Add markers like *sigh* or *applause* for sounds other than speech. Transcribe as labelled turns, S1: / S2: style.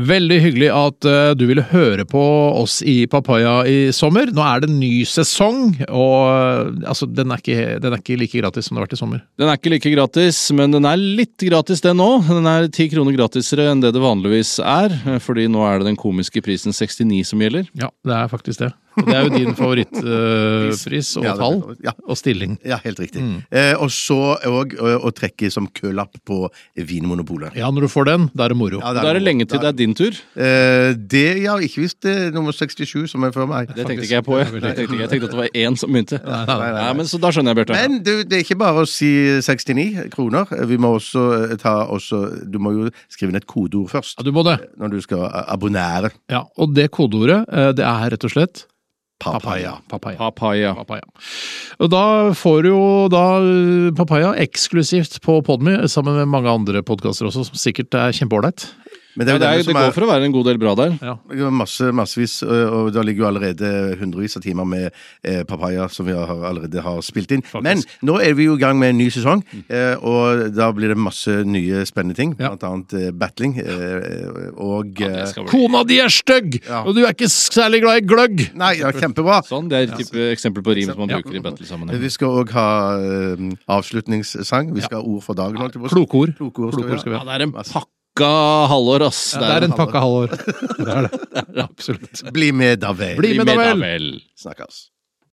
S1: Veldig hyggelig at eh, du ville høre på oss i Papaya i sommer. Nå er det en ny sesong, og eh, altså, den, er ikke, den er ikke like gratis som det har vært i sommer.
S2: Den er ikke like gratis, men den er litt gratis, den òg. Den er ti kroner gratisere enn det det vanligvis er, fordi nå er det den komiske prisen 69 som gjelder.
S1: Ja, det er faktisk det. Og Det er jo din *laughs* favorittpris og
S3: Ja, det-
S1: tall
S3: ja.
S1: og stilling.
S3: Ja, helt riktig.
S2: Mm.
S3: Eh, og så òg å å trekke som kølapp på Vinmonopolet.
S1: Ja, når du får den, da er det moro.
S3: Ja,
S2: Da er det lenge til det er din tur.
S3: Eh, det, ja, ikke hvis det er nummer 67 som er før meg.
S2: Det tenkte ikke jeg på. Jeg, det tenkte ikke. jeg. jeg tenkte at det var én som begynte. Nei, men Så da skjønner jeg, Bjarte.
S3: Men du, det er ikke bare å si 69 kroner. Vi må også eh, ta også, Du må jo skrive inn et kodeord først
S1: Ja, du må det.
S3: når du skal a- abonnere.
S1: Ja, og det kodeordet, eh, det er rett og slett
S3: Papaya.
S1: Papaya.
S2: Papaya.
S1: Papaya. Og da får du jo da eh, Papaya eksklusivt på Podmy, sammen med mange andre podkaster også, som sikkert er kjempeålreit.
S3: Men
S2: Ja,
S3: jo
S2: det, er,
S3: denne som
S2: det går for å være en god del bra der.
S3: Det var Masse, massevis, ø, og det ligger jo allerede hundrevis av timer med eh, papaya som vi har, allerede har spilt inn. Men nå er vi jo i gang med en ny sesong, eh, og da blir det masse nye spennende ting.
S1: Ja.
S3: Blant annet eh, battling. Eh, og
S2: Det
S3: eh,
S2: skal bli.
S1: Kona di er stygg,
S3: Ja.
S1: og du er ikke særlig glad i gløgg!
S3: Nei, ja, kjempebra!
S2: Sånn, Det er et type eksempel på rim som man bruker i battle-sammenheng.
S3: Vi skal òg ha eh, avslutningssang. Vi skal ha ord for dagen. holdt jeg på å si.
S1: Klokord.
S3: Klokord skal vi
S1: Klokord
S3: ha.
S1: skal vi
S2: Ja,
S1: ha.
S2: det er en pakka halvår, ass.
S1: Ja, det er en *laughs* pakke halvår. Det er det. Absolutt.
S3: Bli med, da vel.
S1: Bli med, da vel!
S2: vel.
S3: Snakkes.